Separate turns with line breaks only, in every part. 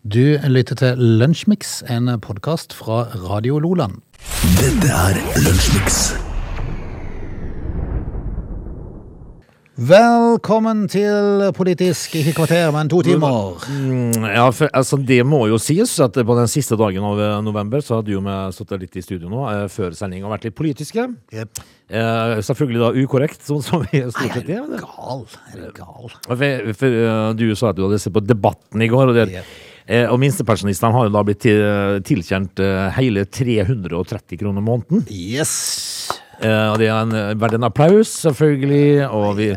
Du lytter til Lunsjmix, en podkast fra Radio Loland.
Dette er Lunsjmix.
Velkommen til Politisk ikke kvarter, men to timer.
Ja, for, altså, det må jo sies at på den siste dagen av eh, november så hadde jo vi sittet litt i studio nå eh, før sending og vært litt politiske. Eh, selvfølgelig da ukorrekt, sånn som vi stort sett er. men det-
gal? Er du gal?
For, for, eh, du sa at du hadde sett på Debatten i går, og, det,
Yep.
eh, og minstepensjonistene har jo da blitt til, tilkjent eh, hele 330 kroner måneden.
Yes.
Eh, og det har en- vært en applaus, selvfølgelig. Og vi,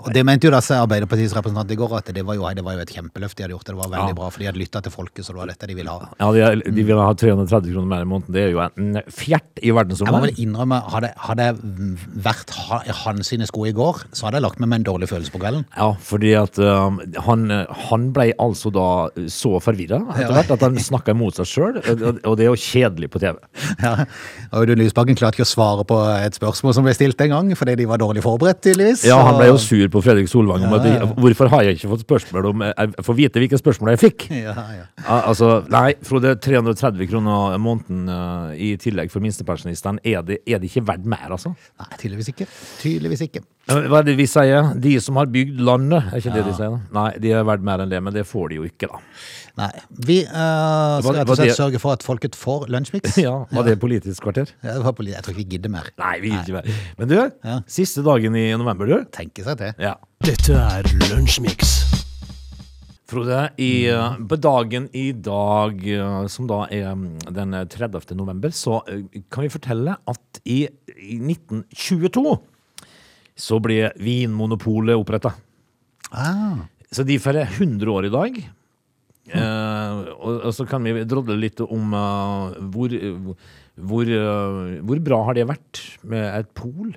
Og det mente jo disse Arbeiderpartiets representanter i går, at det var jo, det var jo et kjempeløft de hadde gjort. og Det var veldig
Ja.
bra, for de hadde lytta til folket, så det var dette de ville ha.
ja, de, de vil ha 330 kroner mer i måneden. Det er jo en fjert i
Jeg må vel
verdensrommet.
innrømme, hadde, hadde jeg vært ha- hans sine sko i går, så hadde jeg lagt meg med en dårlig følelse på kvelden.
Ja, fordi at um, han, han ble altså da så forvirra etter hvert at han snakka imot seg sjøl, og, og det er jo kjedelig på TV.
Ja. Audun Lysbakken klarte ikke å svare på et spørsmål som ble stilt en gang, fordi de var dårlig forberedt, tydeligvis.
Ja, Han ble jo
Så-
sur på Fredrik Solvang om at
Ja, ja.
hvorfor har jeg ikke fått spørsmål om eh, Jeg får vite hvilke spørsmål jeg fikk.
ja, ja.
Ja, Altså, nei, Frode, 330 kroner måneden eh, i tillegg for minstepensjonistene, er, det- er det ikke verdt mer, altså?
Nei, tydeligvis ikke. Tydeligvis ikke.
Eh, Hva er det vi sier? De som har bygd landet, er ikke det de sier? da? Nei, de er verdt mer enn det, men det får de jo ikke, da.
Nei. Vi eh, skal rett
var
og slett
det-
sørge for at folket får lunsjmix.
Ja, Var det Politisk kvarter?
Ja, det var på li- Jeg tror ikke vi gidder mer.
Nei, vi gir ikke mer. Men du, siste dagen i november, du.
Tenke seg til.
Ja.
Dette er Lunsjmix.
Frode, i, eh, på dagen i dag, eh, som da er mm, den 30. november, så eh, kan vi fortelle at i, i 1922 så ble Vinmonopolet oppretta.
Ah,
Så de feirer 100 år i dag. Eh, og, og så kan vi drodle litt om eh, hvor, hvor, eh, hvor bra har det vært med et pol?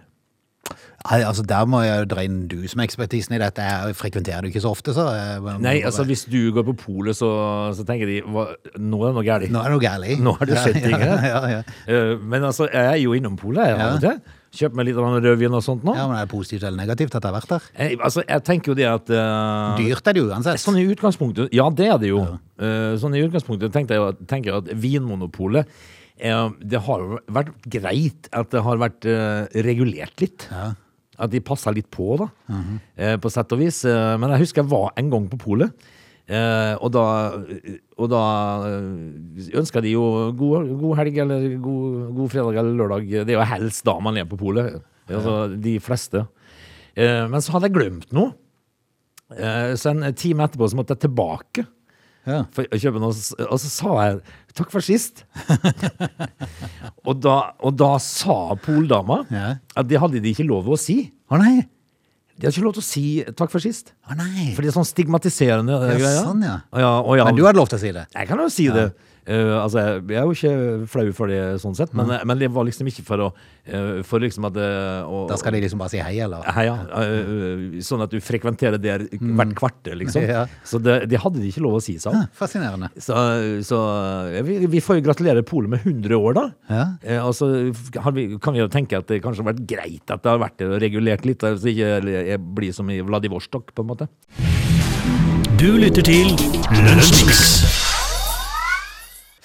Nei, altså Der må jeg jo dra inn du som ekspertisen i dette. Jeg frekventerer det ikke så ofte, så eh, jeg, må-
Nei,
må
altså
bare-
hvis du går på polet, så, så tenker de hva, Nå er det noe galt.
Nå er det noe galt.
Nå har det
Ja,
skjedd ting
ja,
her.
ja, ja.
Eh, men altså, jeg er jo innom polet. Jeg, av og til. Kjøper meg litt av den rødvin og sånt nå.
ja, men Er det positivt eller negativt at jeg har vært der?
Jeg, altså, jeg tenker jo det at eh,
Dyrt er det jo uansett.
Sånn i utgangspunktet Ja, det er det jo. Eh, sånn i utgangspunktet tenkte jeg, jo at- tenker jeg at Vinmonopolet eh, Det har jo vært greit at det har vært eh, regulert litt. At de passer litt på, da. eh, på sett og vis. Eh, men jeg husker jeg var en gang på polet. eh, og da, og da ønska de jo god, god helg eller god, god fredag eller lørdag. Det er jo helst da man er på polet. Altså, de fleste. Eh, men så hadde jeg glemt noe. Eh, Så en time etterpå så måtte jeg tilbake
Ja.
for å kjøpe noe, s- og så sa jeg 'takk for sist'. og, da, og da sa poldama
Ja.
at det hadde de ikke lov å si.
Å nei!
De hadde ikke lov til å si 'takk for sist',
Å nei!
for det er sånn stigmatiserende.
Ja,
eh, greier.
sånn, ja.
Og ja, og ja,
Men du hadde lov til å si det?
Jeg kan jo si det. Eh, altså, jeg- jeg er jo ikke flau for det, sånn sett, men, men det var liksom ikke for å eh, For liksom at eh, å-
Da skal de liksom bare si hei, eller?
ja, ja. øh, Sånn at du frekventerer der hvert kvarter, liksom.
Mm. Ja.
Så det, det hadde de ikke lov å si seg om.
Ja, Ah, Fascinerende.
Så, så ja, vi, vi får jo gratulere Polet med 100 år, da.
Ja.
Eh, Og så har vi, kan vi jo tenke at det kanskje har vært greit at det har vært eh, regulert litt, så det ikke jeg blir som i Vladivostok, på en måte.
Du lytter til Lunsjmix.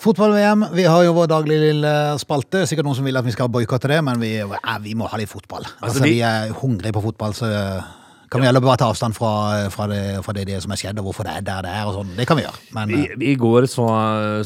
Fotball-VM. Vi har jo vår daglige lille spalte. Sikkert noen som vil at vi skal boikotte det, men vi, ja, vi må ha litt fotball. Altså,
vi-
vi... er hungrige på fotball, så eh, kan vi heller bare ta avstand fra, fra, det, fra det, det som er skjedd, og hvorfor det er der det er, og sånn. Det kan vi gjøre. Men
I,
eh,
I går så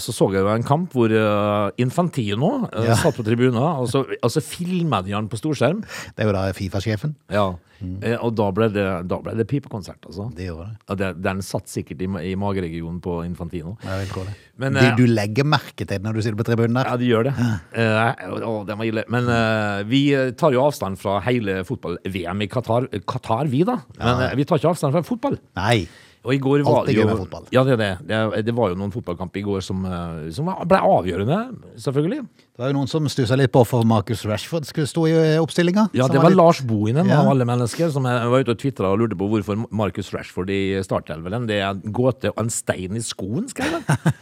så, så jeg jo en kamp hvor eh, Infantino eh,
Ja.
satt på tribunen, og så, og så filma de han på storskjerm.
eh, det er jo da Fifa-sjefen.
Ja.
Mm.
Eh, Og da ble det, da ble det pipekonsert, altså.
Det gjorde det.
Ja, det- den satt sikkert i, ma- i mageregionen på Infantino.
Jeg vil tro det.
Men,
du,
eh,
du legger merke til det når du sitter på tribunen der.
Ja, det gjør det. Eh, å, å, den var ille. Men eh, vi eh, tar jo avstand fra hele fotball-VM i Qatar. eh, Qatar, vi, da. Men eh, vi tar ikke avstand fra fotball.
Nei.
Og i går var
Alt
det
er gøy
jo
med fotball.
Ja, det er det. Det, det var jo noen fotballkamper i går som, eh, som var- ble avgjørende, selvfølgelig.
Det var jo noen som stussa litt på hvorfor Marcus Rashford skulle stå i eh, oppstillinga.
Ja,
som
det var
litt-
Lars Bohinen
Ja.
av alle mennesker som eh, var ute og tvitra og lurte på hvorfor Marcus Rashford i startelveren. Det er en gåte og en stein i skoen, skrev han.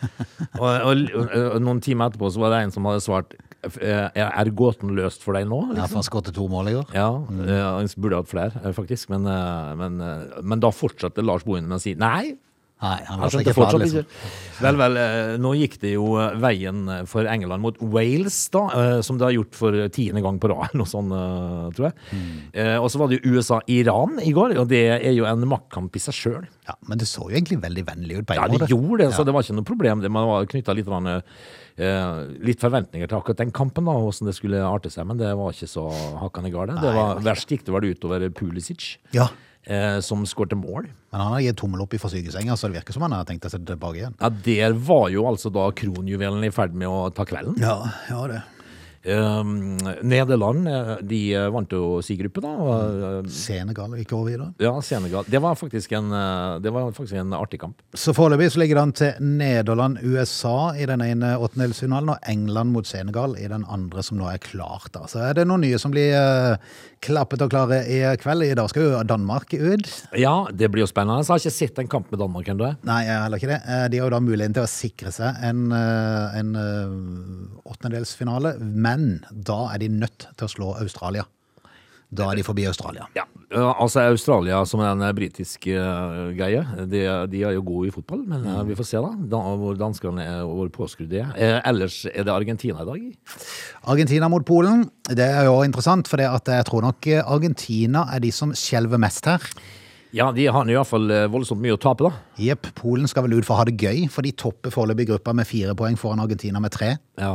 og, og, og noen timer etterpå så var det en som hadde svart eh, Er gåten løst for deg nå?
Ja, for
Liksom.
han skåret to mål i går.
Ja, eh, han burde hatt flere, eh, faktisk. Men, eh, men, eh, men da fortsatte Lars Bohinen med å si nei.
Nei, han
Han
lar seg
skjønte
ikke flate,
fortsatt
liksom.
ikke. Vel, vel, eh, nå gikk det jo eh, veien for England mot Wales, da, eh, som det har gjort for tiende gang på rad, eller noe sånt, eh, tror jeg. Eh, Og så var det jo USA-Iran i går, og det er jo en maktkamp i seg sjøl.
Ja, men det så jo egentlig veldig vennlig ut på en
Ja, de
måte.
gjorde det, så det var ikke noe problem. Det- Man var knytta litt, grann, eh, litt forventninger til akkurat den kampen, da, og hvordan det skulle arte seg, men det var ikke så hakkande gale. Det var, verst gikk det vel utover Pulisic,
Ja,
eh, som skårte mål.
men han har gitt tommel opp fra sykesenga, så det virker som han har tenkt å sette tilbake igjen.
Ja, Der var jo altså da kronjuvelen i ferd med å ta kvelden.
Ja, ja det.
Um, Nederland eh, de eh, vant jo si gruppe, da. og, eh,
Senegal gikk over videre.
Ja, Senegal. Det var faktisk en, eh, det var faktisk en artig kamp.
Så foreløpig så ligger det an til Nederland-USA i den ene åttendelsfinalen, og England mot Senegal i den andre som nå er klart. Da. Så er det noen nye som blir eh, klappet og klare i kveld. I dag skal jo Danmark ut.
Ja, det blir jo spennende. Jeg har ikke sett en kamp med Danmark ennå.
Nei, jeg har heller ikke det. Eh, De har jo da muligheten til å sikre seg en, eh, en eh, åttendedelsfinale, men da er de nødt til å slå Australia. Da er de forbi Australia.
Ja, eh, altså Australia som er en britisk eh, greie, de, de er jo gode i fotball, men eh, vi får se da, da hvor danskene er, og hvor påskrudd de er. Eh, ellers er det Argentina i dag.
Argentina mot Polen, det er jo interessant, for det at jeg tror nok eh, Argentina er de som skjelver mest her.
Ja, de har iallfall eh, voldsomt mye å tape, da.
Jepp, Polen skal vel ut for å ha det gøy, for de topper foreløpig gruppa med fire poeng foran Argentina med tre.
Ja.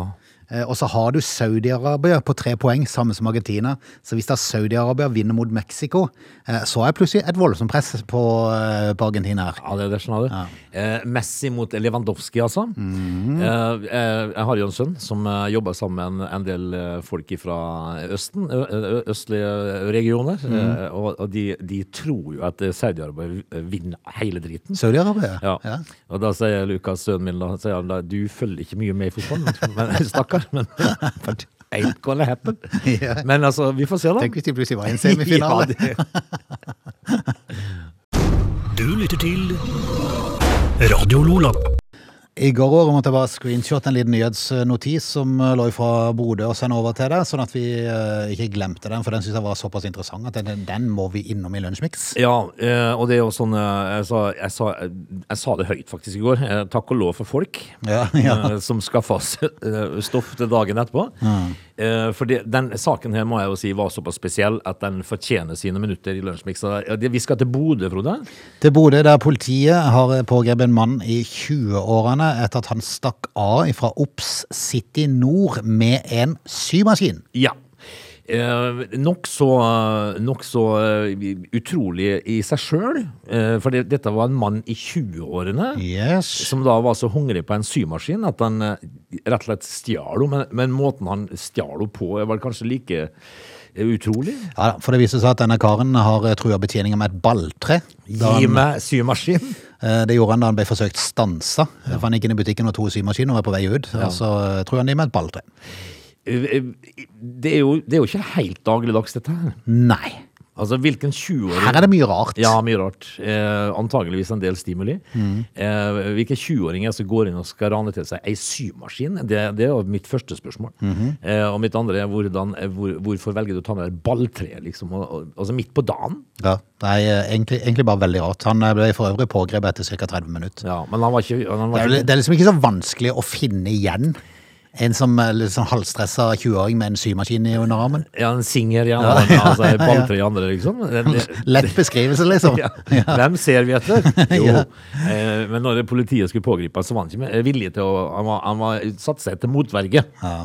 Eh, Og så har du Saudi-Arabia på tre poeng, samme som Argentina. Så hvis da Saudi-Arabia vinner mot Mexico, eh, så er plutselig et voldsomt press på, eh, på Argentina her.
Ja, det, det skjønner du. Eh, Messi mot Lewandowski, altså. eh, eh, jeg har jo en sønn som eh, jobber sammen med en, en del eh, folk fra Østen, ø, ø, østlige regioner. Eh, og og de, de tror jo at eh, Saudi-Arabia vinner hele driten.
Saudi-Arabia?
Ja. Og da sier Lukas, sønnen min, da, sier han da, du følger ikke mye med i fotballen. Men, stakkar, men ain't gonna happen.
Ja.
Men altså, vi får se, da.
Tenk hvis de plutselig var i en semifinale.
Ja, det-
Du lytter til Radio Lola.
I går år måtte jeg bare screenshotte en liten nyhetsnotis som eh, lå fra Bodø og sende over til deg, sånn at vi eh, ikke glemte den, for den synes jeg var såpass interessant at den, den må vi innom i Lunsjmix.
Ja, eh, og det er jo sånn eh, jeg sa, jeg, sa, jeg sa det høyt faktisk i går. Eh, Takk og lov for folk
Ja, ja.
eh, som skaffa oss eh, stoff til dagen etterpå. Eh, For det, den saken her må jeg jo si var såpass spesiell at den fortjener sine minutter i Lunsjmix. Ja, det- Vi skal til Bodø, Frode.
Til Bodø, der politiet har pågrepet en mann i 20-årene etter at han stakk av fra Ops City Nord med en symaskin.
Ja. Eh, Nokså nok så, eh, utrolig i seg sjøl, eh, for det, dette var en mann i 20-årene.
Yes.
Som da var så hungrig på en symaskin at han eh, rett og slett stjal henne. Men, men måten han stjal henne på, er vel kanskje like eh, utrolig?
Ja, da, for det viser seg at denne karen har eh, trua betjeninga med et balltre. Da
Gi
han,
meg symaskin!
eh, det gjorde han da han ble forsøkt stansa. For han gikk inn i butikken og to symaskiner og var på vei ut. Og så eh, trua han de med et balltre.
Eh, eh, Det er, jo, det er jo ikke helt dagligdags, dette her.
Nei.
Altså, hvilken 20-åring
Her er det mye rart.
Ja, mye rart. Eh, antageligvis en del stimuli.
Mm.
Eh, hvilke 20-åringer som går inn og skal rane til seg ei symaskin? Det, det er jo mitt første spørsmål.
Mhm.
eh, og mitt andre er hvordan, eh, hvor, hvorfor velger du å ta med deg et balltre, liksom? Og, og, altså midt på dagen?
Ja, nei, eh, egentlig, egentlig bare veldig rart. Han eh, ble for øvrig pågrepet etter ca. 30 minutter.
Ja, men han var ikke, han
Det
var
er,
ikke
vel- det er liksom ikke så vanskelig å finne igjen en som er litt sånn halvstressa 20-åring med en symaskin i underarmen.
ja, en singer, ja. ja, altså, et balltre i andre, liksom. Det, det,
Lett beskrivelse, liksom.
ja. Hvem ser vi etter? Jo. eh, men når politiet skulle pågripe han, så var han ikke med, eh, villig til å Han, var, han var, satte seg etter motverge.
Ja.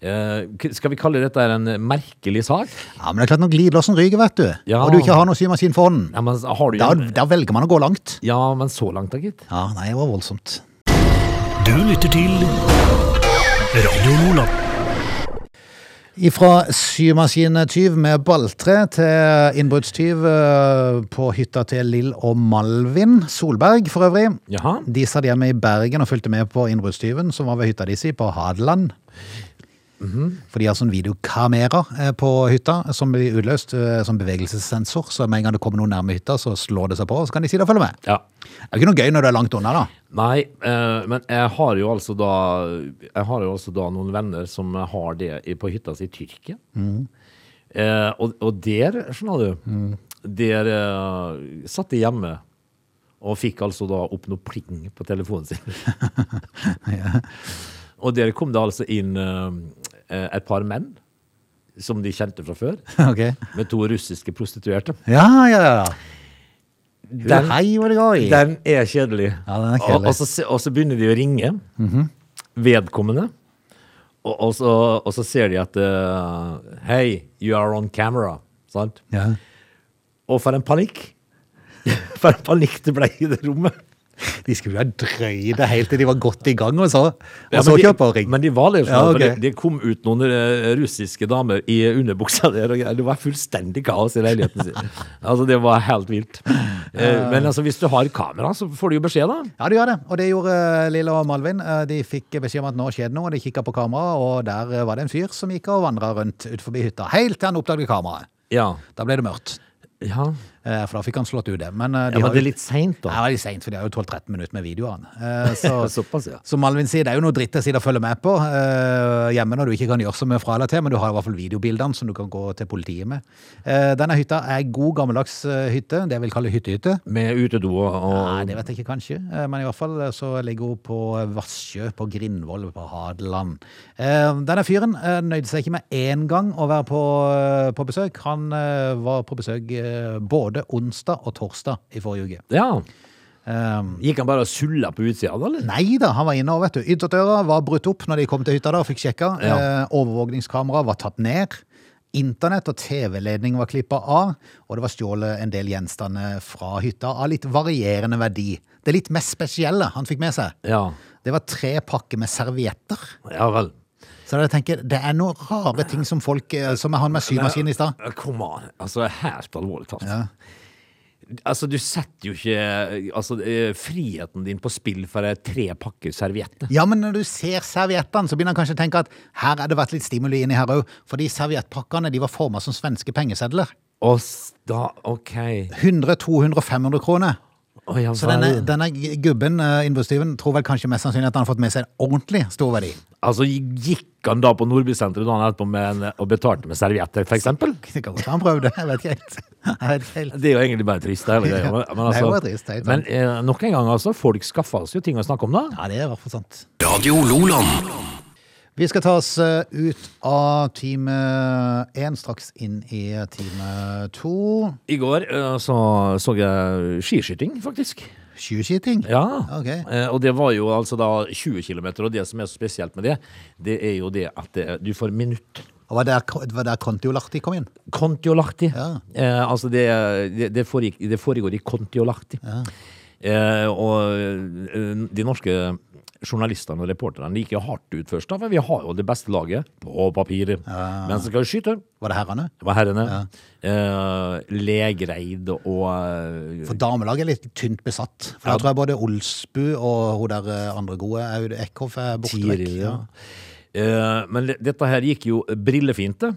Eh, k- skal vi kalle dette her en merkelig sak?
Ja, men det er klart når glidelåsen ryker, vet du,
Ja.
og du ikke har noen symaskin for hånden,
Ja, men har du
da,
jo
da velger man å gå langt.
Ja, men så langt da, gitt.
Ja, nei, det var voldsomt.
Du lytter til Radio Lola.
Ifra symaskintyv med balltre til innbruddstyv eh, på hytta til Lill og Malvin Solberg, for øvrig.
Jaha.
De satt hjemme i Bergen og fulgte med på innbruddstyven som var ved hytta de si på Hadeland. For de har sånn videokamera eh, på hytta som blir utløst eh, som bevegelsessensor. Så med en gang det kommer noen nærme hytta, så slår det seg på, og så kan de sitte og følge med.
Ja.
Det er ikke noe gøy når du er langt unna, da.
Nei, eh, men jeg har jo altså da Jeg har jo altså da noen venner som har det i- på hytta si i Tyrkia. Eh, og, og der, skjønner du Der eh, satt de hjemme og Og fikk altså da opp noe pling på telefonen sin. Og der kom det altså inn eh, et par menn, som de kjente fra før,
Ok.
med to russiske prostituerte.
Ja, ja, ja.
Den,
Hei, hvor det går i.
den er kjedelig.
Ja, den er
Og-
kjedelig. Mhm.
Og, så, se- og så begynner de å ringe vedkommende, og, og, så, og så ser de at eh, Hei, you are on camera. Sant?
Ja.
Og for en panikk! For en panikk det ble i det rommet.
De skulle ha drøyd det helt til de var godt i gang, og så, og
Ja,
så
men de-
kjøpering.
Men de var det jo
Ja,
sånn, for
ok.
det, det kom ut noen eh, russiske damer i underbuksa der, og greier. det var fullstendig kaos i leiligheten sin. Altså, det var helt vilt. Eh, Men altså, hvis du har kamera, så får du jo beskjed da.
Ja, de gjør det. Og det gjorde eh, Lille og Malvin. Eh, De fikk beskjed om at nå skjedde noe, og de kikka på kameraet, og der eh, var det en fyr som gikk og vandra rundt ut forbi hytta, helt til han oppdaget kameraet.
Ja.
Da ble det mørkt,
Ja,
Eh, for da fikk han slått ut det. Men eh, de
ja men
har
det er
jo
litt sent
Nei,
da.
det var litt seint, for de har jo 12-13 minutter med videoene. Eh, Så,
Såpass, ja.
Som Malvin sier, det er jo noe dritt jeg sier å følge med på eh, hjemme når du ikke kan gjøre så mye fra eller til, men du har i hvert fall videobildene som du kan gå til politiet med. Eh, denne hytta er god gammeldags eh, hytte, det jeg vil kalle hyttehytte.
Med utedo og...
Nei, det vet jeg ikke kanskje, eh, men i hvert fall eh, så ligger hun på eh, Vassjø, på Grindvoll, på Hadeland. Eh, Denne fyren eh, nøyde seg ikke med én gang å være på, eh, på besøk. Han eh, var på besøk eh, både onsdag og torsdag i forrige uke.
Ja.
Eh,
Gikk han bare og sulla på utsida da, eller?
Nei da, han var inne og vet du. Ytterdøra var brutt opp når de kom til hytta da og fikk sjekka.
Ja.
Eh, Overvåkningskamera var tatt ned. Internett og TV-ledning var klippa av. Og det var stjålet en del gjenstander fra hytta av litt varierende verdi. Det litt mest spesielle han fikk med seg,
Ja.
det var tre pakker med servietter.
Ja vel.
Så jeg tenker, det er noen rare ting som folk eh, Som han med symaskinen i stad.
Ja, Kom an. Altså, det er helt alvorlig talt. Altså, du setter jo ikke altså, eh, friheten din på spill for eh, tre pakker servietter.
Ja, men når du ser serviettene, så begynner han kanskje å tenke at her har det vært litt stimuli inni her òg. For de serviettpakkene de var forma som svenske pengesedler.
Og s- da, OK.
100, 200, 500 kroner.
Å, ja,
Så
vel.
denne, denne gubben, eh, innbruddstyven, tror vel kanskje mest sannsynlig at han har fått med seg en ordentlig stor verdi.
Altså, gikk han da på Nordbysenteret dagen etterpå med en, og betalte med servietter, for eksempel?
Det kan godt han prøvde, jeg vet ikke helt. Jeg vet ikke helt.
Det er jo egentlig bare trist. hele greia, Men,
Det
men,
er jo
altså,
bare trist, det er jo
men eh, nok en gang, altså. Folk skaffa oss jo ting å snakke om, da.
Ja, det er i hvert fall sant.
Radio Loland.
Vi skal ta oss eh, ut av time én, straks inn i time to.
I går eh, så, så jeg skiskyting, faktisk.
Skiskyting.
Ja.
Ok.
Eh, Og det var jo altså da 20 km, og det som er så spesielt med det, det er jo det at eh, du får minutt.
Og var der, var der Contiolahti kom inn?
Kontiolahti.
Ja.
Eh, altså det, det, det, foregikk, det foregår i Kontiolahti. Eh, og eh, de norske journalistene og reporterne gikk jo hardt ut først, da, for vi har jo det beste laget på papiret. Men så skal vi skyte.
Var det herrene?
Det var herrene. Eh, Legreid og eh,
For damelaget er litt tynt besatt. For
Ja.
da tror jeg både Olsbu og hun der eh, andre gode, Aud Eckhoff, er borte vekk.
Tiril, ja. Eh, men det- dette her gikk jo brillefint, det.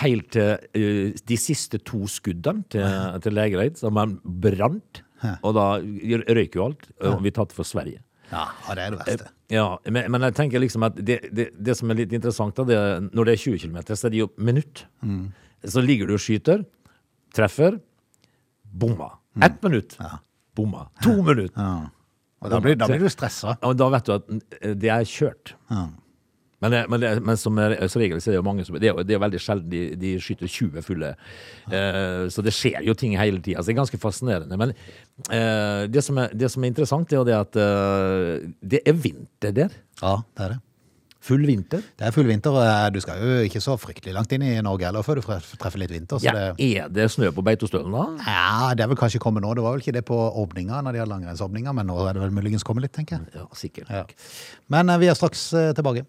Helt til eh, de siste to skuddene til, til Lægereid, som han brant. Og da røyk jo alt. Og vi tatt for Sverige.
Ja, ja, det er det
Eh,
verste.
Ja, men, men jeg tenker liksom at det, det, det som er litt interessant, da, det, er når det er 20 km, så er det jo minutt. Så ligger du og skyter, treffer, bomma. Ett minutt, bomma. To minutter.
Og da blir, da blir du stressa.
Ja, men da vet du at eh, det er kjørt. Men, det, men, det, men som, er- som regel så er det jo mange som Det er, jo- det er jo veldig sjelden de, de skyter 20 fulle. Eh, så det skjer jo ting hele tida. Så det er ganske fascinerende. Men eh, det, som er, det som er interessant, er jo det at eh, det er vinter der.
Ja, det er det.
Full vinter.
Det er full vinter, og eh, du skal jo ikke så fryktelig langt inn i Norge heller før du tre- treffer litt vinter. Så
Ja,
det,
er det snø på Beitostølen da?
ja, det er vel kanskje kommet nå. Det var vel ikke det på åpninga, når de hadde langrennsåpninga, men nå er det vel muligens kommet litt, tenker jeg.
Ja, sikkert.
Ja. Men eh, vi er straks eh, tilbake.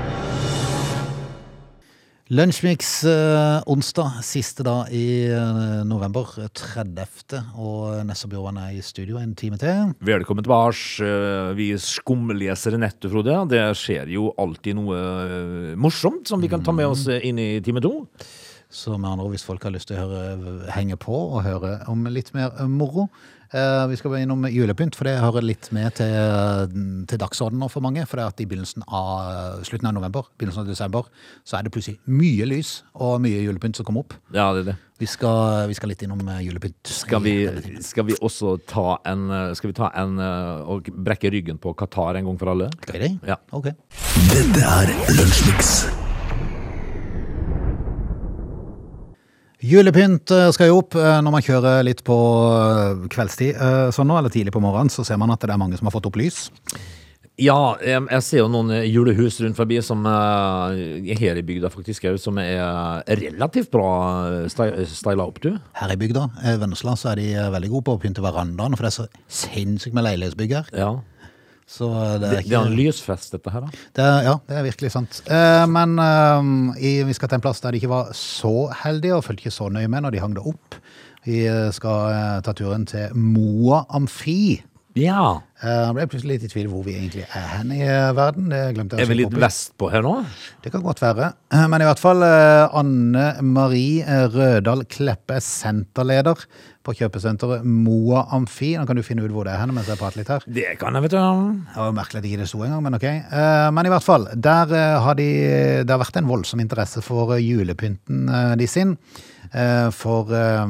Lunsjmix eh, onsdag, siste da i eh, november, 30. Og Nessa Bjørvann er i studio en time til.
Velkommen til bars. Eh, Vi skumleser nettet, Frode. Det skjer jo alltid noe eh, morsomt som vi kan ta med oss eh, inn i time to.
Så med andre ord, hvis folk har lyst til å høre, henge på og høre om litt mer eh, moro eh, Vi skal bare innom julepynt, for det hører litt med til, eh, til dagsordenen nå for mange. For det er at i begynnelsen av, eh, slutten av november, begynnelsen av desember, så er det plutselig mye lys og mye julepynt som kommer opp.
Ja, det er det.
Vi skal, vi skal litt innom eh, julepynt.
Skal vi, skal vi også ta en, eh, skal vi ta en eh, og brekke ryggen på Qatar en gang for alle?
Skal vi det?
Ja.
Ok.
Dette er Lunsjmix.
Julepynt eh, skal jo opp eh, når man kjører litt på eh, kveldstid eh, sånn nå, eller tidlig på morgenen, så ser man at det er mange som har fått opp lys.
Ja, eh, jeg ser jo noen eh, julehus rundt forbi som eh, her i bygda faktisk er, som er relativt bra eh, sti- styla opp, du.
Her i bygda, eh, Vennesla, så er de eh, veldig gode på å pynte verandaen, for det er så sinnssykt med leilighetsbygg her.
Ja.
Så eh, det
Det,
er
det er en
ikke
lysfest, dette her. da.
det er, Ja, det er virkelig sant. Eh, Men eh, i, vi skal til en plass der de ikke var så heldige, og fulgte ikke så nøye med når de hang det opp. Vi eh, skal eh, ta turen til Moa Amfi.
Ja.
Eh, Jeg ble plutselig litt i tvil hvor vi egentlig er hen i eh, verden. Det glemte jeg å
Er vi
sjekke
litt
opp i.
vestpå her nå?
Det kan godt være. Men i hvert fall eh, Anne Marie eh, Rødal Kleppe, er senterleder på kjøpesenteret Moa Amfi. Nå kan du finne ut hvor det er hen mens jeg prater litt her.
Det kan jeg, vet du.
Det var merkelig at ikke det sto engang, men ok. Eh, Men i hvert fall, der eh, har de, det har vært en voldsom interesse for eh, julepynten eh, de sin. Eh, For eh,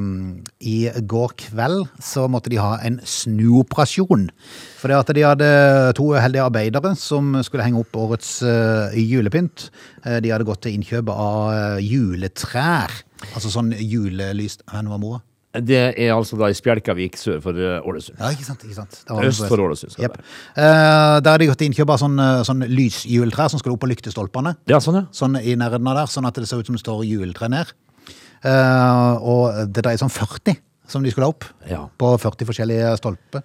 i går kveld så måtte de ha en snuoperasjon. For det at de hadde to uheldige arbeidere som skulle henge opp årets eh, julepynt. Eh, De hadde gått til innkjøp av eh, juletrær. Altså sånn julelys Hvem var mora?
Det er altså da i Spjelkavik sør for eh, Ålesund.
Ja, ikke sant, ikke sant. Det
Øst for Ålesund skal det
Jep. Eh, der har de gått til innkjøp av sånn, eh, sånn lysjuletrær som skal opp på lyktestolpene.
Det er sånn, ja.
Sånn i nærheten av der, sånn at det ser ut som det står juletre ned. Eh, og det dreier seg om 40 som de skulle ha opp,
Ja.
på 40 forskjellige stolper.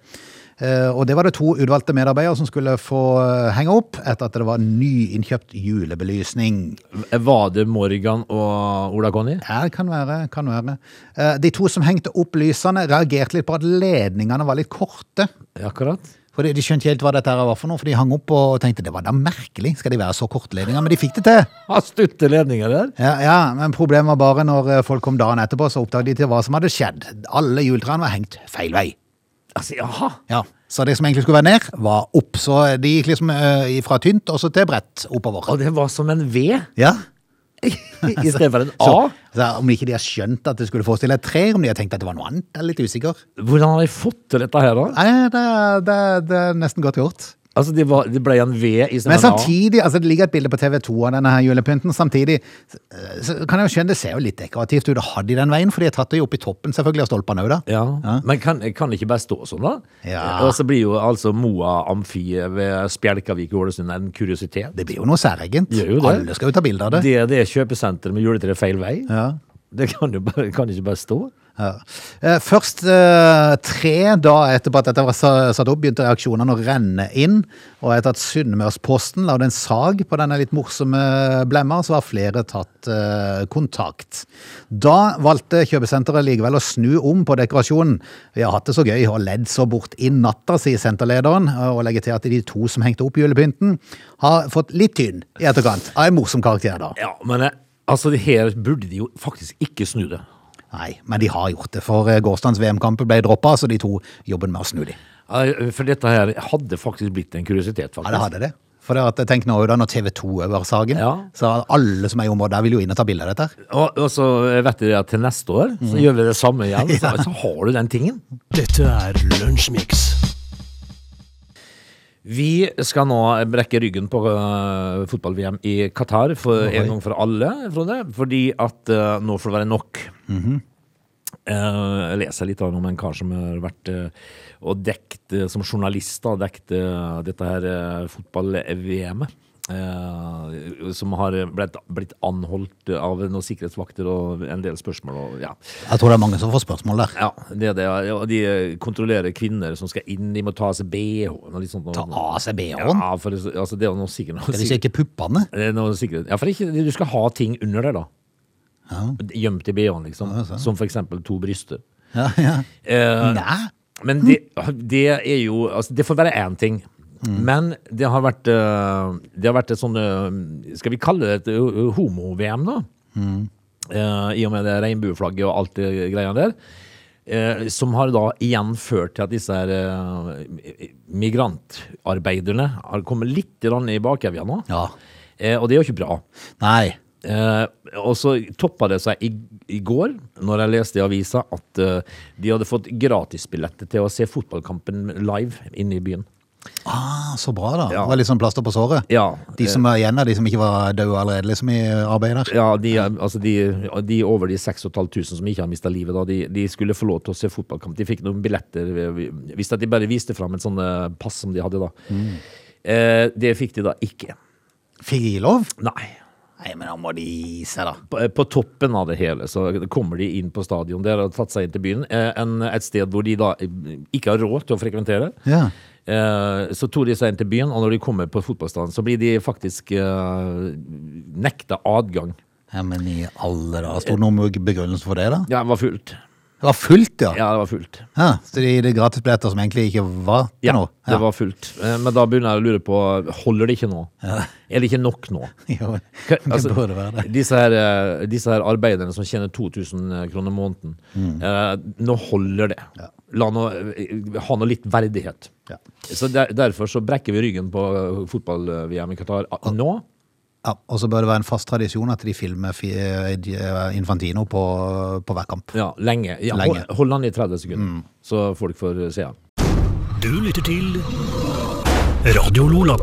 Eh, og det var det to utvalgte medarbeidere som skulle få eh, henge opp etter at det var nyinnkjøpt julebelysning.
Var det Morgan og Ola Conny?
Ja, kan være, kan være. Eh, de to som hengte opp lysene reagerte litt på at ledningene var litt korte.
Akkurat.
For de, de skjønte ikke helt hva dette her var for noe, for de hang opp og tenkte det var da merkelig, skal de være så kortledninger, men de fikk det til.
Har stutte ledninger der.
Ja, ja, men problemet var bare når eh, folk kom dagen etterpå, så oppdaget de til hva som hadde skjedd. Alle juletrærne var hengt feil vei.
Altså, jaha.
Ja, så det som egentlig skulle være ned, var opp. Så de gikk liksom eh, fra tynt og så til bredt oppover.
Og det var som en V
Ja.
i stedet for en
Så,
A.
så om ikke de har skjønt at det skulle forestille et tre, om de har tenkt at det var noe annet, jeg er litt usikker.
Hvordan har de fått til dette her, da?
Nei, det, er- det, er- det er nesten godt gjort.
Altså, det, var, det ble en V i stedet
Men
for en A.
samtidig, altså det ligger et bilde på TV 2 av denne her julepynten, samtidig eh, så kan jeg jo skjønne, det ser jo litt dekorativt ut å ha det i den veien, for de har tatt det jo opp i toppen selvfølgelig av stolpene òg, da.
Ja. Men kan, kan det ikke bare stå sånn, da?
Ja.
Og så blir jo altså Moa Amfi ved Spjelkavik i Ålesund en kuriositet.
Det blir jo noe særegent.
Gjør jo det.
Alle skal jo ta bilde av det.
Det, det er kjøpesenter med juletre feil vei.
Ja.
Det kan jo bare, kan ikke bare stå.
Ja. Eh, Først eh, tre dager etterpå at dette var sa- satt opp, begynte reaksjonene å renne inn. Og etter at Sunnmørsposten lagde en sag på denne litt morsomme blemma, så har flere tatt eh, kontakt. Da valgte kjøpesenteret likevel å snu om på dekorasjonen. Vi har hatt det så gøy og ledd så bort i natta, sier senterlederen, eh, og legger til at de to som hengte opp julepynten, har fått litt tynn i etterkant av en morsom karakter, da.
Ja, men eh, altså, det her burde de jo faktisk ikke snu det.
Nei, men de har gjort det, for eh, gårsdagens VM-kamp ble droppa, så de to jobben med å snu dem.
Eh, For dette her hadde faktisk blitt en kuriositet, faktisk.
Ja, det hadde det. For det at, tenk nå da, når TV 2 over saken,
Ja.
så alle som er i området der vil jo inn og ta bilde av dette. her.
Og, og så vet dere at til neste år så gjør vi det samme igjen. Så, så har du den tingen.
Dette er Lunsjmix.
Vi skal nå brekke ryggen på øh, fotball-VM i Qatar for en gang for alle, Frode. Fordi at øh, nå får det være nok. Eh, jeg leser litt om en kar som har vært øh, og dekt, øh, som journalist, da, dekt øh, dette her øh, fotball-VM-et. eh, som har blitt, blitt anholdt av noen sikkerhetsvakter og en del spørsmål og ja.
Jeg tror det er mange som får spørsmål der.
Ja, det er det. ja. Og de eh, kontrollerer kvinner som skal inn, de må ta av seg BH-en og litt sånt.
Ta av seg BH-en.
Ja, for det- altså, det er jo noe sikkert.
Skal de sjekke puppene?
Det er noe sikkert. Ja, for ikke, du skal ha ting under deg, da. gjemt i BH-en, liksom. Som for eksempel to bryster.
Ja, ja.
Eh,
Nei.
Men det, det er jo altså, Det får være én ting. Men det har vært eh, Det har vært et sånn eh, Skal vi kalle det et eh, homo-VM, da? Eh, I og med det regnbueflagget og alt det greia der. Eh, som har da igjen ført til at disse her eh, migrantarbeiderne har kommet litt grann i bakevja nå.
Ja.
Eh, og det er jo ikke bra.
Nei.
Eh, og så toppa det seg i, i går, når jeg leste i avisa, at eh, de hadde fått gratisbilletter til å se fotballkampen live inne i byen.
Ah, så bra, da.
Ja.
Det var litt sånn plaster på såret.
Ja.
De som var igjen av de som ikke var døde allerede, liksom, i arbeidet der.
Ja, de, eh, altså de, de over de 6500 som ikke har mista livet, da, de, de skulle få lov til å se fotballkamp. De fikk noen billetter, eh, hvis at de bare viste fram et sånt eh, pass som de hadde da. Eh, det fikk de da ikke.
Fikk de lov?
Nei.
Nei, men da må de gi seg, da.
på, eh, på toppen av det hele så kommer de inn på stadion. De har tatt seg inn til byen. eh, En, et sted hvor de da eh, ikke har råd til å frekventere.
Ja.
Eh, Så tok de seg inn til byen, og når de kommer på fotballstadion, så blir de faktisk eh, nekta adgang.
ja men i alle dager. Sto det noen begrunnelse for det, da?
Ja, det var fullt.
Det var fullt, ja.
Ja, det var fullt.
ja så de, det er gratisbilletter som egentlig ikke var til
Ja,
noe?
det var fullt. Eh, Men da begynner jeg å lure på Holder det ikke nå? Er det ikke nok nå?
Jo,
Hva-
det
altså,
burde være det.
Disse her, eh, disse her arbeiderne som tjener 2000 kroner måneden,
Mm.
eh, nå holder det. La nå, eh, ha nå litt verdighet.
Ja.
Så der, Derfor så brekker vi ryggen på eh, fotball-VM i Qatar ah, nå.
Ja, og så bør det være en fast tradisjon at de filmer fi- eh, Infantino på, på hver kamp.
Ja, lenge. Ja,
Lenge. Mm.
Hold, hold han i 30 sekunder, så folk får se han.
Du lytter til Radio Lola.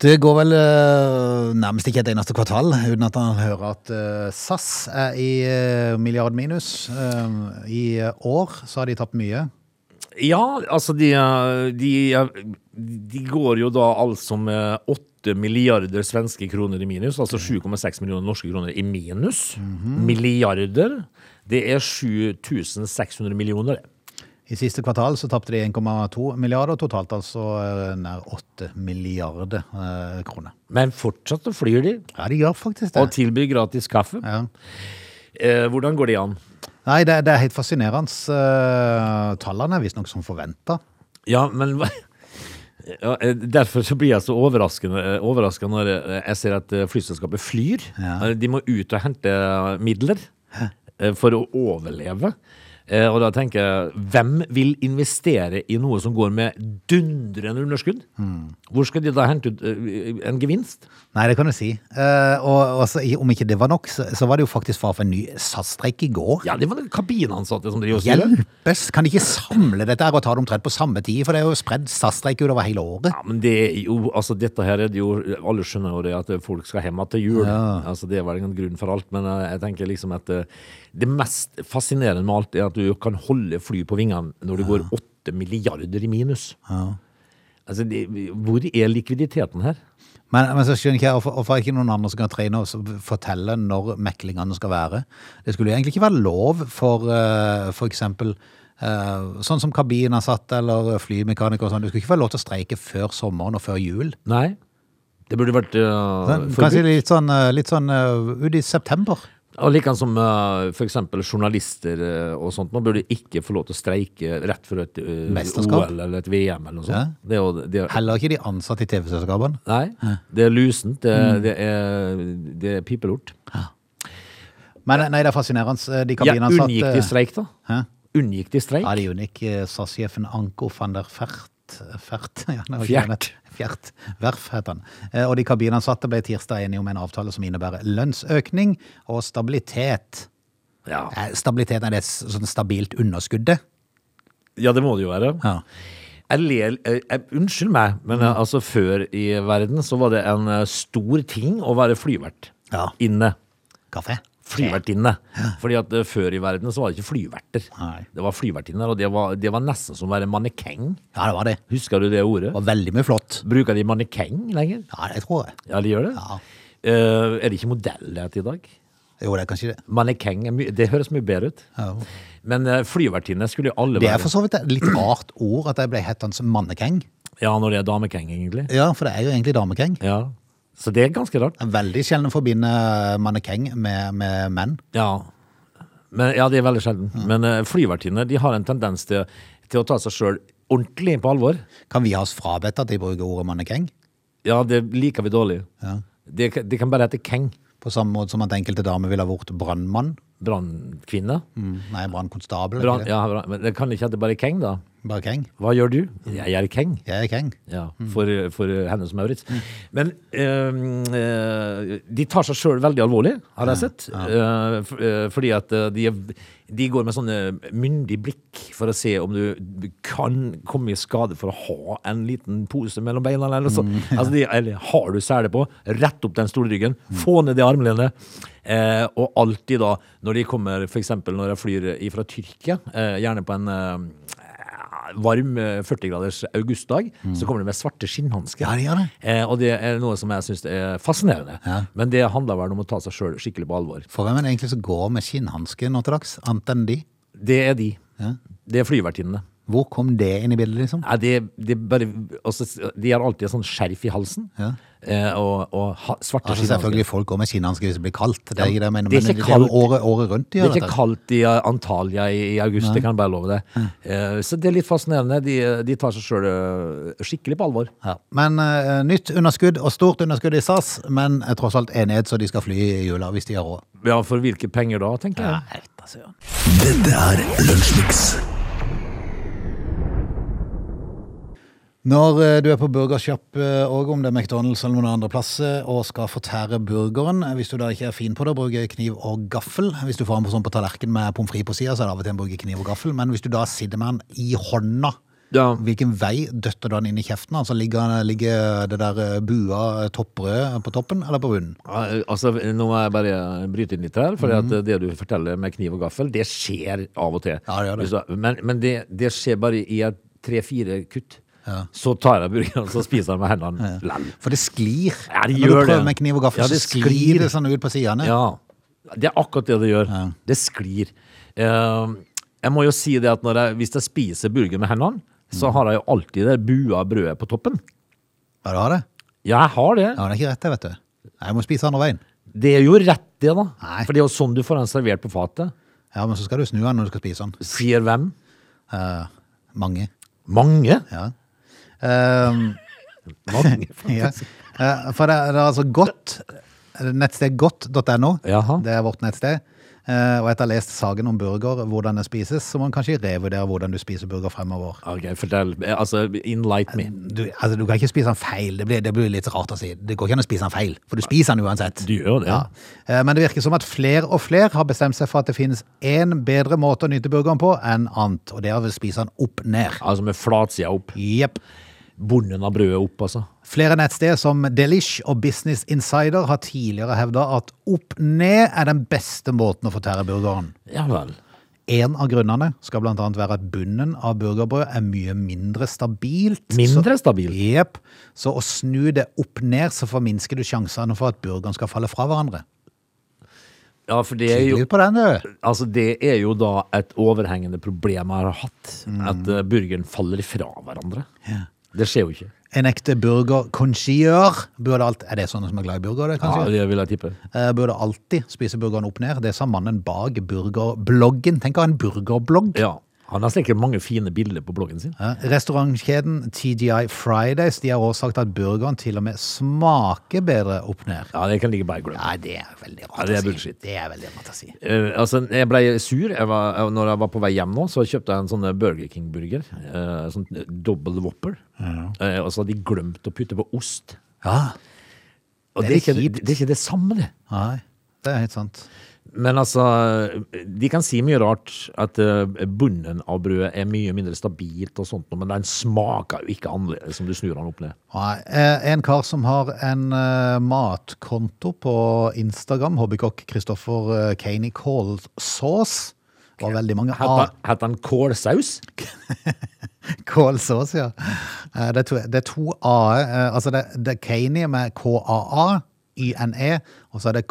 Det går vel eh, nærmest ikke et eneste kvartal uten at han hører at eh, SAS er i eh, milliardminus. Eh, I eh, år så har de tapt mye.
Ja, altså de, eh, de, eh, de går jo da altså med 8 milliarder svenske kroner i minus, altså 7,6 millioner norske kroner i minus.
Mhm.
Milliarder. Det er 7600 millioner. det.
I siste kvartal så tapte de 1,2 milliarder, totalt altså eh, nær 8 milliarder eh, kroner.
Men fortsatt så flyr de
Ja, de gjør faktisk det.
og tilbyr gratis kaffe.
Ja.
Eh, hvordan går det an?
Nei, det, det er helt fascinerende. eh, Tallene er visstnok som forventa.
Ja, men hva- ja, eh, Derfor så blir jeg så overraskende, eh, overrasket når eh, jeg ser at eh, flyselskapet flyr.
Ja.
Eh, De må ut og hente eh, midler eh, for å overleve. Eh, Og da tenker jeg, hvem vil investere i noe som går med dundrende underskudd? Hvor skal de da hente ut eh, en gevinst?
Nei, det kan du si. Eh, og og så, i- om ikke det var nok, så, så var det jo faktisk fare for en ny SAS-streik i går.
Ja, det var den kabinansatte som driver og styrer.
Hjelpes! Kan de ikke samle dette her og ta det omtrent på samme tid? For det er jo spredd SAS-streik utover hele året.
Ja, men det er jo, altså dette her er det jo, alle skjønner jo det at folk skal hjem til jul. Altså det er vel en grunn for alt, men eh, jeg tenker liksom at eh, det mest fascinerende med alt er at du kan holde fly på vingene når det går 8 milliarder i minus. Altså, det, hvor er likviditeten her?
Men, men så skjønner ikke jeg hvorfor hvorfor er det ikke noen andre som kan trene oss og fortelle når meklingene skal være. Det skulle jo egentlig ikke være lov for eh, for eksempel eh, sånn som kabinansatte eller flymekaniker og sånn. Du skulle ikke få lov til å streike før sommeren og før jul.
Nei, det burde vært eh,
Sånn, Kanskje
forbudt.
litt sånn, eh, litt sånn eh, ut i september.
Og like som eh, for eksempel journalister eh, og sånt, nå burde ikke få lov til å streike rett før et eh,
Mesterskap.
OL eller et VM eller noe sånt. Det er jo, det er,
Heller ikke de ansatte i TV-selskapene.
Nei, det er lusent, det,
Mm.
det, er, det er pipelort.
Men nei, det er fascinerende. Eh, De
Ja,
kabinansatte
unngikk de streik, da?
Hæ?
Unngikk de streik?
Ja, de unngikk eh, SAS-sjefen Anko van der Fert. eh, Fert, ja, det var ikke
Fjert.
han het. Fjert. Verf het han. Eh, Og de kabinansatte ble tirsdag enige om en avtale som innebærer lønnsøkning og stabilitet.
Ja.
Eh, Stabilitet er det s- sånn stabilt underskuddet.
ja, det må det jo være.
Ja. Mm.
Jeg ler, jeg, jeg, unnskyld meg, men eh, altså før i verden så var det en eh, stor ting å være flyvert
Ja.
inne.
Kaffe.
Flyvertinne. Fordi at eh, før i verden så var det ikke flyverter.
Nei.
Det var flyvertinner, og det var, det var nesten som å være mannekeng.
Ja, det var det.
Husker du det ordet?
Det var veldig mye flott.
Bruker de mannekeng lenger?
Ja, det tror jeg.
Ja, de gjør det.
Ja.
Eh, er det ikke modell det heter i dag?
Jo, det er kanskje det.
Mannekeng, er my- det høres mye bedre ut.
Ja.
Men eh, flyvertinne skulle jo alle
Det er
være
for så vidt et litt rart ord at jeg ble hett hans mannekeng.
Ja, når det er damekeng, egentlig.
Ja, for det er jo egentlig damekeng.
Ja. Så det er ganske rart.
Veldig sjelden forbinder mannekeng med, med menn.
Ja, men, ja det er veldig sjelden.
Mm.
Men uh, flyvertinner de har en tendens til, til å ta seg sjøl ordentlig på alvor.
Kan vi ha oss frabedt at de bruker ordet mannekeng?
Ja, det liker vi dårlig.
Ja.
De, de kan bare hete Keng.
På samme måte som at enkelte damer ville ha vært brannmann.
Brannkvinne.
Mm. Nei, brannkonstabel.
Brann,
ikke det?
ja, brann- men det kan ikke hete bare Keng, da.
Bare keng.
Hva gjør du? Jeg er Keng.
Jeg er keng.
Ja, for, for henne som Maurits. Men eh, eh, de tar seg sjøl veldig alvorlig, har jeg sett. Eh, f- eh, fordi at eh, de, er, de går med sånne myndig blikk for å se om du kan komme i skade for å ha en liten pose mellom beina. Eller, noe sånt. altså, de, eller har du sele på, rett opp den store ryggen, få ned de armlenet. Eh, og alltid da, når de kommer, f.eks. når jeg flyr fra Tyrkia, eh, gjerne på en eh, varm eh, 40 graders augustdag, så kommer det med svarte skinnhansker.
Mm. Ja, det gjør det.
Eh, og det er noe som jeg syns er fascinerende. Men det handler vel om å ta seg sjøl skikkelig på alvor.
For hvem er det egentlig som går med skinnhanske nå til dags, annet enn de?
Det er de. Det er flyvertinnene.
Hvor kom det inn i bildet, liksom?
Nei, det, det er bare, også, de har alltid et sånt skjerf i halsen.
Ja.
Eh, og og ha, svarte
Altså
skinnhansker.
Selvfølgelig folk går med skinnhanske hvis det blir kaldt. Det er ikke det jeg mener,
det er
men
ikke
det er jo
kaldt.
året, året rundt de
Det
gjør
er ikke
dette.
kaldt i eh, Antalya i, i august, det kan jeg bare love deg. Eh, så det er litt fascinerende. De, de tar seg sjøl skikkelig på alvor.
Ja. Men eh, nytt underskudd og stort underskudd i SAS, men eh, tross alt enighet så de skal fly i jula hvis de har råd.
Ja, for hvilke penger da, tenker jeg.
jeg vet da søren.
Dette er Lunsjmix.
Når eh, du er på burgershop eh, og om det er McDonald's eller noen andre plasser, og skal fortære burgeren, eh, hvis du da ikke er fin på det, bruker kniv og gaffel. Hvis du får den på, sånn på tallerken med pommes frites på sida, så er det av og til en bruker kniv og gaffel. Men hvis du da sitter med den i hånda,
Ja.
hvilken vei døtter du den inn i kjeften? Altså ligger, ligger det der eh, bua eh, toppbrød på toppen eller på bunnen?
Ja, Altså, nå må jeg bare bryte inn litt her, for det du forteller med kniv og gaffel, det skjer av og til.
Mhm. Ja, det gjør det.
Så- Men, men det, det skjer bare i et tre-fire kutt. Så tar jeg burgeren, så spiser jeg med hendene. Lell.
For det sklir.
Ja, det
Når
gjør
du prøver
det.
med kniv og gaffel,
Ja, det
så sklir,
sklir.
det sånn ut på sidene.
Ja. Det er akkurat det det gjør. Det sklir. Eh, jeg må jo si det at når jeg, hvis jeg spiser burger med hendene,
Mm.
så har jeg jo alltid det bua brødet på toppen.
Ja, du har det?
Ja, jeg har det.
Ja, det er ikke rett, det, vet du. Nei, Jeg må spise andre veien.
Det er jo rett, det, da.
Nei.
For det er jo sånn du får den servert på fatet.
Ja, men så skal du snu den når du skal spise den.
Sier hvem?
Eh, mange.
Mange.
Ja. Ehm,
Mange.
ja. Eh, for det, det er altså godt. Nettsted godt.no.
Jaha.
Det er vårt nettsted. Eh, og etter å ha lest saken om burger, hvordan det spises, så må man kanskje revurdere hvordan du spiser burger fremover.
Ok, fortell. Eh, Altså, enlight me.
Du, altså, du kan ikke spise den feil. Det blir, det blir litt rart å si. Det går ikke an å spise den feil, for du spiser den uansett.
Du gjør jo det.
Ja. Eh, Men det virker som at flere og flere har bestemt seg for at det finnes én bedre måte å nyte burgeren på enn annet, og det er å spise den opp ned.
Altså med flatsida opp.
Jepp.
Bonden av brødet opp, altså.
Flere nettsteder som Delish og Business Insider har tidligere hevda at opp ned er den beste måten å fortære burgeren.
Ja vel.
En av grunnene skal bl.a. være at bunnen av burgerbrød er mye mindre stabilt.
Mindre
Så-
stabilt?
Jep. Så å snu det opp ned, så forminsker du sjansene for at burgeren skal falle fra hverandre.
Ja, for det er jo,
Tydelig på den, du.
altså det er jo da et overhengende problem jeg har hatt. At eh, burgeren faller fra hverandre. Det skjer jo ikke.
En ekte burgerkonsiør burde alt Er det sånne som er glad i burger, det,
Ja,
kanskje?
det vil jeg tippe.
Eh, Burde alltid spise burgeren opp ned. Det sa mannen bak burgerbloggen. Tenk å ha en burgerblogg.
Ja. Han har sikkert mange fine bilder på bloggen sin.
Eh, Restaurantkjeden TGI Fridays De har også sagt at burgeren til og med smaker bedre opp ned.
Ja, det kan ligge bare glemt.
Nei, det er veldig
Ja,
rart
det er
å si.
bullshit.
Det er veldig rart å si.
Eh, altså, jeg ble sur jeg var, jeg- Når jeg var på vei hjem nå Så kjøpte jeg en sånn Burger King burger eh, Sånn double whopper eh, Og så hadde de glemt å putte på ost
Ja,
Og
Det er
det er,
litt
ikke, det er ikke det samme, det.
nei, det er helt sant.
Men altså, de kan si mye rart. At eh, bunnen av brødet er mye mindre stabilt og sånt, men den smaker jo ikke annerledes om du snur den opp ned.
Nei, eh, En kar som har en eh, matkonto på Instagram, hobbykokk Kristoffer eh, Kaney Kålsås. Det var veldig mange A.
Heter heter den kålsaus?
Kålsås, ja. Eh, Det er to, det er to A-er. eh, Altså det, det er Kaney med K-A-A, Y-N-E, og så er det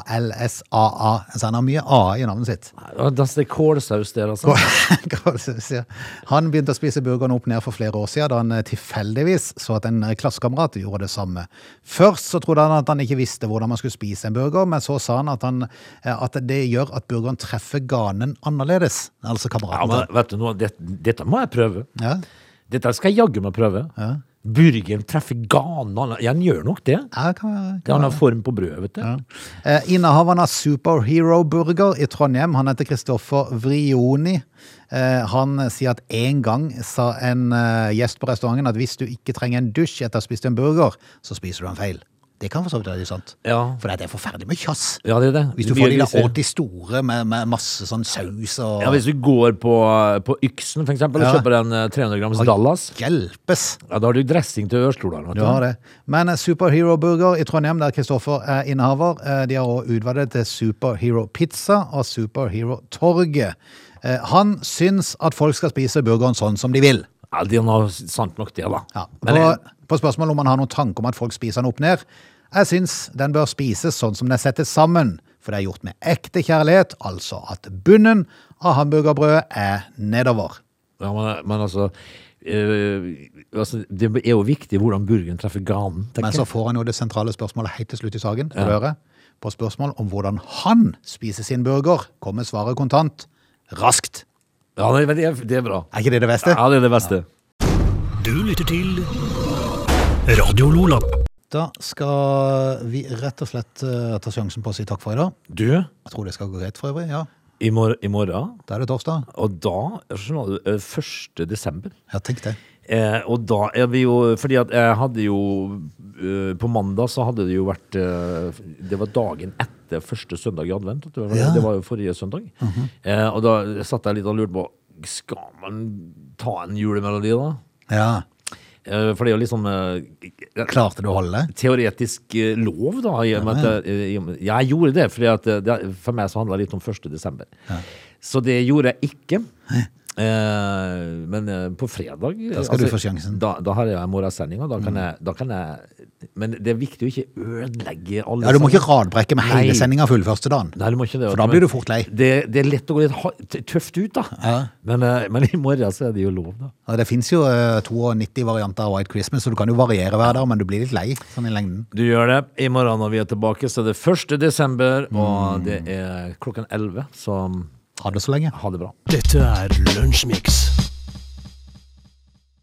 K-A-A-L-S-A-A. Så han har mye A i navnet sitt.
Ja, Das det er kålsaus der, altså.
Hva var det som sier? Han begynte å spise burgeren opp ned for flere år siden da han eh, tilfeldigvis så at en eh, klassekamerat gjorde det samme. Først så trodde han at han ikke visste hvordan man skulle spise en burger, men så sa han at, han, eh, at det gjør at burgeren treffer ganen annerledes. Altså
Ja,
kameraten.
men, vet du noe, dette, dette må jeg prøve.
Ja,
Dette skal jeg jaggu meg prøve. Burgeren treffer ganen. Ja, han gjør nok det.
ja kan,
Det er en form på brødet, vet du.
Eh, Innehaveren av Superhero Burger i Trondheim, han heter Kristoffer Vrioni. Eh, han sier at en gang sa en eh, gjest på restauranten at hvis du ikke trenger en dusj etter å ha spist en burger, så spiser du en feil. Det kan for så vidt være litt sant.
Ja.
For det er forferdelig mye kjass.
Ja, det er det.
Hvis du
Mye
får de der
griser.
ordentlig store med, med masse sånn saus og
Ja, Hvis du går på, på Yksen, for eksempel, og
Ja.
kjøper en eh, 300 grams Dallas,
Hjelpes!
ja, da har du dressing til ørstolene. vet
Du har det. Men eh, Superhero Burger i Trondheim, der Kristoffer er innehaver, eh, de har også utvidet til Superhero Pizza og Superhero Torget. Eh, Han syns at folk skal spise burgeren sånn som de vil.
Ja, det er noe sant nok, det, da.
Ja.
Men
På,
jeg,
på spørsmål om han har noen tanke om at folk spiser den opp ned. Jeg syns den bør spises sånn som den settes sammen, for det er gjort med ekte kjærlighet, altså at bunnen av hamburgerbrødet er nedover.
ja, men, men altså, eh, altså Det er jo viktig hvordan burgeren treffer ganen. tenker
Men så får han jo det sentrale spørsmålet helt til slutt i saken. får du høre. På spørsmål om hvordan han spiser sin burger, kommer svaret kontant. Raskt.
jeg. Ja, det, det, er- det er bra.
Er ikke det det beste?
Ja, det er det beste.
Du lytter til Radio Lola.
Da skal vi rett og slett eh, ta sjansen på å si takk for i dag.
Du,
Jeg tror det skal gå greit for øvrig. ja.
i, mor i morgen,
Da er det torsdag.
og da skjønner du, eh, 1. desember
Ja, tenk det.
Eh, og da er vi jo Fordi at jeg hadde jo eh, På mandag så hadde det jo vært eh, Det var dagen etter første søndag i advent. vet du hva Det var,
Ja.
det var jo forrige søndag. eh, og da satt jeg litt og lurte på Skal man ta en julemelodi, da?
Ja,
Eh, for det er jo liksom eh,
Klarte du å holde det?
teoretisk eh, lov, da. I, og med at, jeg- i, og med- ja, jeg gjorde det, fordi at eh, det, for meg så handla det litt om 1. desember. Så det gjorde jeg ikke. Eh, men eh, på fredag altså,
Da skal du få sjansen. Mm.
Da, da har jeg morgensendinga. Da, kan jeg- da kan jeg Men det er viktig å ikke ødelegge alle
Ja, Du må
sammen.
ikke radbrekke med hele
Nei.
sendinga full første dagen.
Nei, du må ikke det.
For da
vet
blir du
men
fort lei.
Det, det er lett å gå litt ha- t- tøft ut, da.
Ja.
Men, eh, men i morgen så er det jo lov, da.
Ja, Det fins jo eh, 92 varianter av White Christmas, så du kan jo variere hver dag, men du blir litt lei sånn i lengden.
Du gjør det. I morgen når vi er tilbake, så er det 1. desember, og det er klokken 11, så
Ha det så lenge.
ha det bra.
Dette er Lunsjmix.